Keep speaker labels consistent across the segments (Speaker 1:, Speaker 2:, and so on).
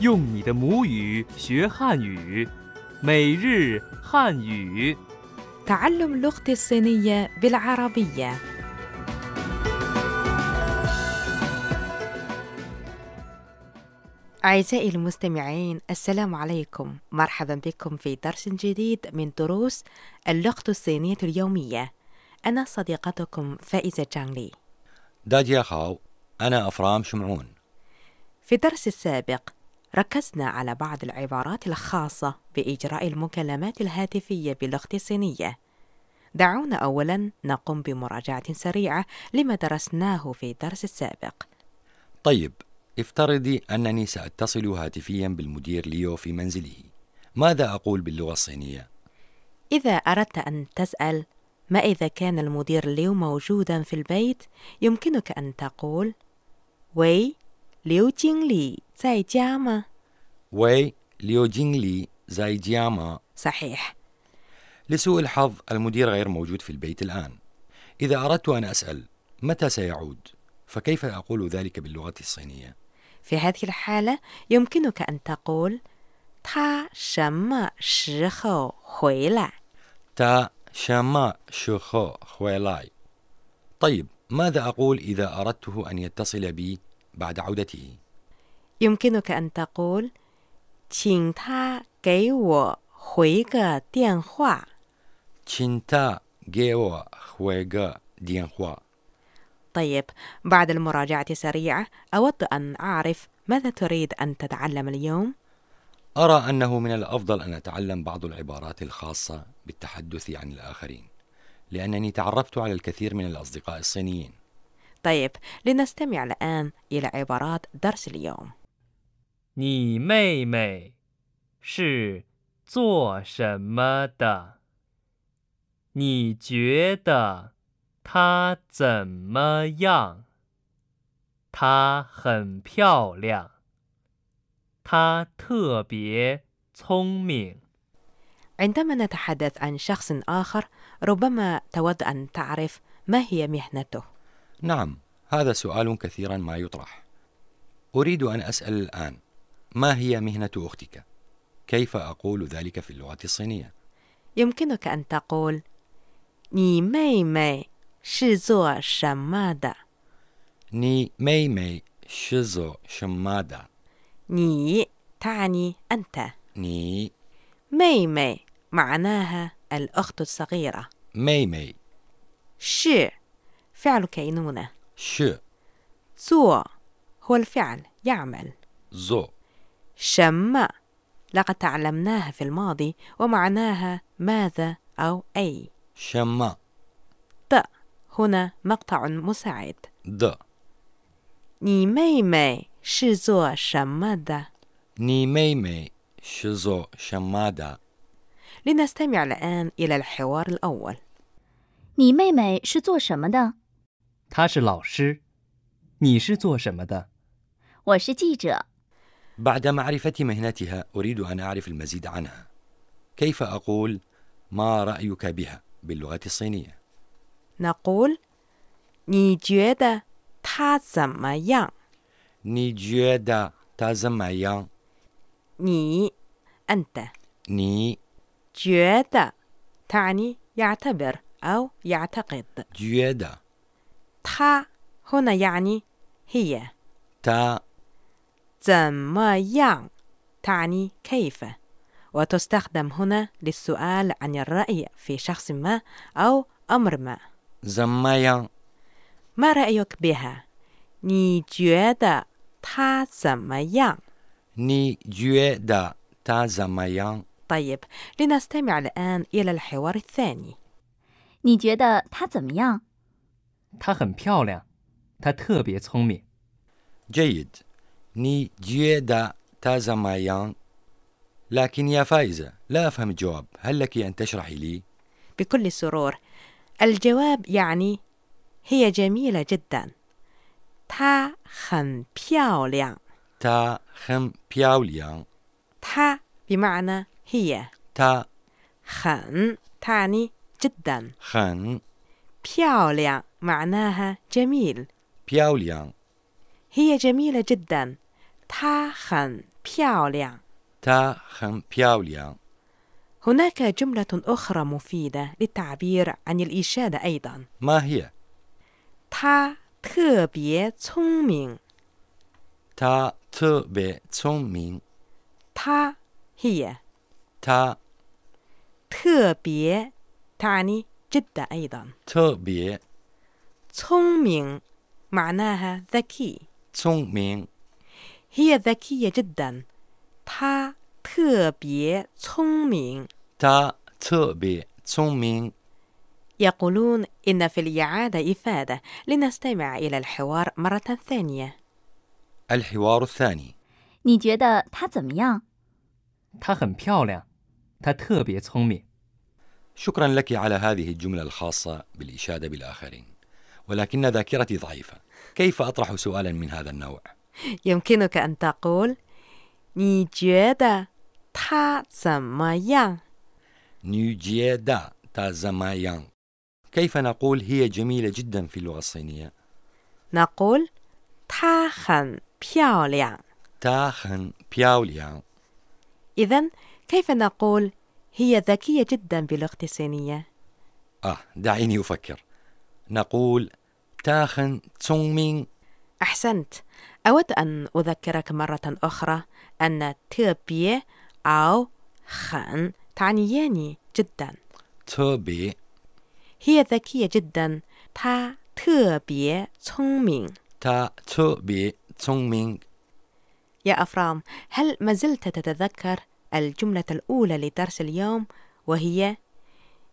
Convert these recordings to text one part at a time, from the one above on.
Speaker 1: 用你的母语学汉语，每日汉语。
Speaker 2: تعلم لغتي الصينية بالعربية أعزائي المستمعين السلام عليكم مرحبا بكم في درس جديد من دروس اللغة الصينية اليومية أنا صديقتكم فائزة جانلي
Speaker 3: داجيا خاو أنا أفرام شمعون
Speaker 2: في الدرس السابق ركزنا على بعض العبارات الخاصة بإجراء المكالمات الهاتفية باللغة الصينية. دعونا أولاً نقوم بمراجعة سريعة لما درسناه في الدرس السابق.
Speaker 3: طيب افترضي أنني سأتصل هاتفيا بالمدير ليو في منزله ماذا أقول باللغة الصينية؟
Speaker 2: إذا أردت أن تسأل ما إذا كان المدير ليو موجوداً في البيت، يمكنك أن تقول: "وي ليو جين لي زاي جاما".
Speaker 3: وي ليو جين لي زاي جياما
Speaker 2: صحيح،
Speaker 3: لسوء الحظ المدير غير موجود في البيت الآن إذا أردت أن أسأل متى سيعود؟ فكيف أقول ذلك باللغة الصينية؟
Speaker 2: في هذه الحالة يمكنك أن تقول: "تا شما شخو خويلا".
Speaker 3: تا شما شخو خويلاي طيب ماذا أقول إذا أردته أن يتصل بي بعد عودته؟
Speaker 2: يمكنك أن تقول 请他给我回个电话
Speaker 3: تشينتا جيوا خويغا ديانخوا
Speaker 2: طيب بعد المراجعة سريعة أود أن أعرف ماذا تريد أن تتعلم اليوم؟
Speaker 3: أرى أنه من الأفضل أن أتعلم بعض العبارات الخاصة بالتحدث عن الآخرين لأنني تعرفت على الكثير من الأصدقاء الصينيين
Speaker 2: طيب لنستمع الآن إلى عبارات درس اليوم
Speaker 1: 你妹妹是做什么的？你觉得她怎么样？她很漂亮，她特别聪明。
Speaker 2: عندما نتحدث عن شخص آخر ربما تود أن تعرف ما هي مهنته
Speaker 3: نعم هذا سؤال كثيرا ما يطرح أريد أن أسأل الآن ما هي مهنة أختك؟ كيف أقول ذلك في اللغة الصينية؟
Speaker 2: يمكنك أن تقول 你妹妹是做什么的
Speaker 3: ني مي مي شيزو شمادا
Speaker 2: 你 تعني أنت
Speaker 3: ني
Speaker 2: ميمي معناها الأخت الصغيرة
Speaker 3: مي مي
Speaker 2: ش فعل كينونة
Speaker 3: ش
Speaker 2: زو هو الفعل يعمل
Speaker 3: زو
Speaker 2: شم لقد تعلمناها في الماضي ومعناها ماذا أو أي
Speaker 3: شما
Speaker 2: ت هنا مقطع مساعد
Speaker 3: د
Speaker 2: 你妹妹是做什么的
Speaker 3: ني مي مي شيزو شمادا
Speaker 2: لنستمع الآن إلى الحوار الأول
Speaker 4: 你妹妹是做什么的？
Speaker 1: 她是老师，你是做什么的？
Speaker 4: 我是记者。
Speaker 3: بعد معرفة مهنتها أريد أن أعرف المزيد عنها كيف أقول ما رأيك بها باللغة الصينية؟
Speaker 2: نقول 你觉得他怎么样
Speaker 3: ني جيدا تازمايان
Speaker 2: 你 أنت
Speaker 3: ني
Speaker 2: 觉得 تعني يعتبر أو يعتقد
Speaker 3: جيدا
Speaker 2: 他 هنا يعني هي
Speaker 3: تا
Speaker 2: 怎么样 تعني كيف وتستخدم هنا للسؤال عن الرأي في شخص ما أو أمر ما
Speaker 3: زمايان
Speaker 2: ما رأيك بها؟ 你觉得她怎么样
Speaker 3: ني جيدا تازمايان
Speaker 2: طيب لنستمع الآن إلى الحوار الثاني
Speaker 4: 你觉得她怎么样？
Speaker 1: 她很漂亮，她特别聪明。
Speaker 3: جيد ني جيدا تازمايان لكن يا فائزة لا أفهم الجواب هل لك أن تشرحي لي؟
Speaker 2: بكل سرور الجواب يعني هي جميلة جدا تا خن بياوليان
Speaker 3: تا خم بياوليان
Speaker 2: تا بمعنى هي
Speaker 3: تا
Speaker 2: خن تعني جدا
Speaker 3: خن
Speaker 2: بياوليان معناها جميل
Speaker 3: بياوليان
Speaker 2: هي جميلة جدا 她很漂亮
Speaker 3: تا خم بياوليان
Speaker 2: هناك جملة أخرى مفيدة للتعبير عن الإشادة أيضا
Speaker 3: ما هي؟
Speaker 2: 她特别聪明
Speaker 3: تا ت ب تسون مين
Speaker 2: 她 هي
Speaker 3: تا
Speaker 2: 特别 تعني جدا أيضا
Speaker 3: ت ب
Speaker 2: 聪明 معناها ذكي
Speaker 3: تسون مين
Speaker 2: هي ذكية جدا 她特别聪明
Speaker 3: تا ت ب تسون مين
Speaker 2: يقولون إن في الإعادة إفادة لنستمع إلى الحوار مرة ثانية
Speaker 3: الحوار الثاني
Speaker 4: 你觉得她怎么样？
Speaker 5: 她很漂亮，她特别聪明。
Speaker 3: شكرا لك على هذه الجملة الخاصة بالإشادة بالآخرين ولكن ذاكرتي ضعيفة كيف أطرح سؤالا من هذا النوع؟
Speaker 2: يمكنك أن تقول 你觉得她怎么样？
Speaker 3: نيجيدا تازمايان كيف نقول هي جميلة جدا في اللغة الصينية؟
Speaker 2: نقول 她很漂亮
Speaker 3: تاخن بياوليان
Speaker 2: إذا كيف نقول هي ذكية جدا باللغة الصينية؟
Speaker 3: آه دعيني أفكر نقول تاخن تسونمين
Speaker 2: أحسنت أود أن أذكرك مرة أخرى أن تبي أو خن تعنيان جدا
Speaker 3: تبي
Speaker 2: هي ذكية جدا تا تبي تسونمين
Speaker 3: تا تبي تسونمين
Speaker 2: يا أفرام هل ما زلت تتذكر الجملة الأولى لدرس اليوم وهي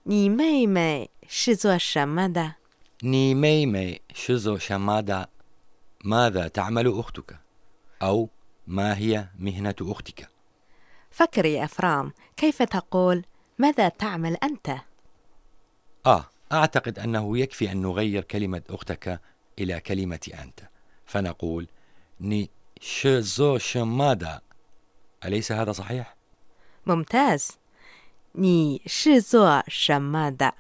Speaker 2: 你妹妹是做什么的？
Speaker 3: ني مي مي شزو شمادا ماذا تعمل أختك؟ أو ما هي مهنة أختك؟
Speaker 2: فكر يا أفرام كيف تقول ماذا تعمل أنت؟
Speaker 3: آه أعتقد أنه يكفي أن نغير كلمة أختك إلى كلمة أنت فنقول ني شزو شمادا أليس هذا صحيح؟
Speaker 2: ممتاز 你是做什么的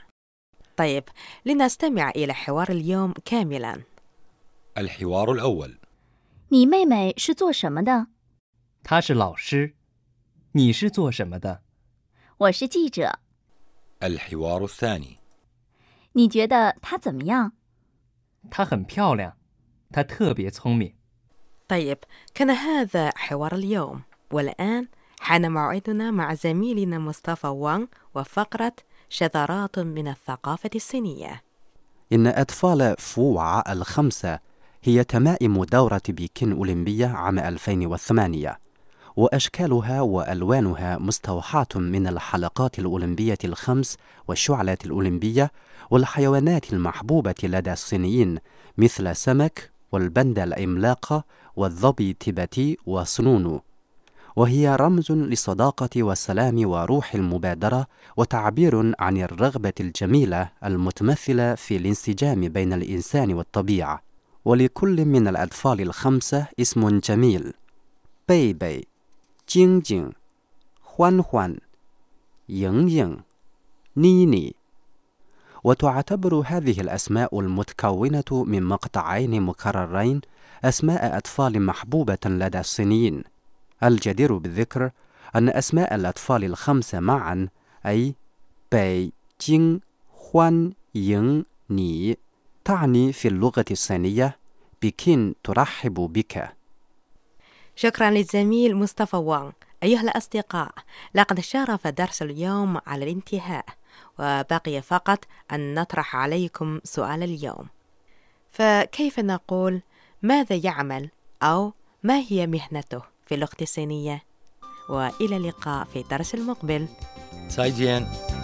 Speaker 2: طيب لنستمع إلى حوار اليوم كاملا
Speaker 3: الحوار الأول
Speaker 4: 你妹妹是做什么的？
Speaker 5: 她是老师，你是做什么的？
Speaker 4: 我是记者。
Speaker 3: الحوار الثاني
Speaker 4: 你觉得她怎么样？
Speaker 5: 她很漂亮，她特别聪明。
Speaker 2: طيب كان هذا حوار اليوم والآن حان موعدنا مع زميلنا مصطفى وانغ وفقرة شذرات من الثقافة الصينية
Speaker 6: إن أطفال فوع الخمسة هي تمائم دورة بكين أولمبية عام 2008 وأشكالها وألوانها مستوحاة من الحلقات الأولمبية الخمس والشعلات الأولمبية والحيوانات المحبوبة لدى الصينيين مثل السمك والبندة العملاقة والظبي التبتي وسنونو وهي رمز للصداقة والسلام وروح المبادرة وتعبير عن الرغبة الجميلة المتمثلة في الانسجام بين الإنسان والطبيعة ولكل من الأطفال الخمسة اسم جميل بي بي جين جين خوان خوان ين ين نيني وتعتبر هذه الأسماء المتكونة من مقطعين مكررين أسماء أطفال محبوبة لدى الصينيين الجدير بالذكر أن أسماء الأطفال الخمسة معا أي بي جين خوان ين ني تعني في اللغة الصينية بكين ترحب بك
Speaker 2: شكرا للزميل مصطفى وانغ أيها الأصدقاء لقد شارف درس اليوم على الانتهاء وبقي فقط أن نطرح عليكم سؤال اليوم فكيف نقول ماذا يعمل أو ما هي مهنته في اللغة الصينية وإلى اللقاء في الدرس المقبل
Speaker 3: سايجين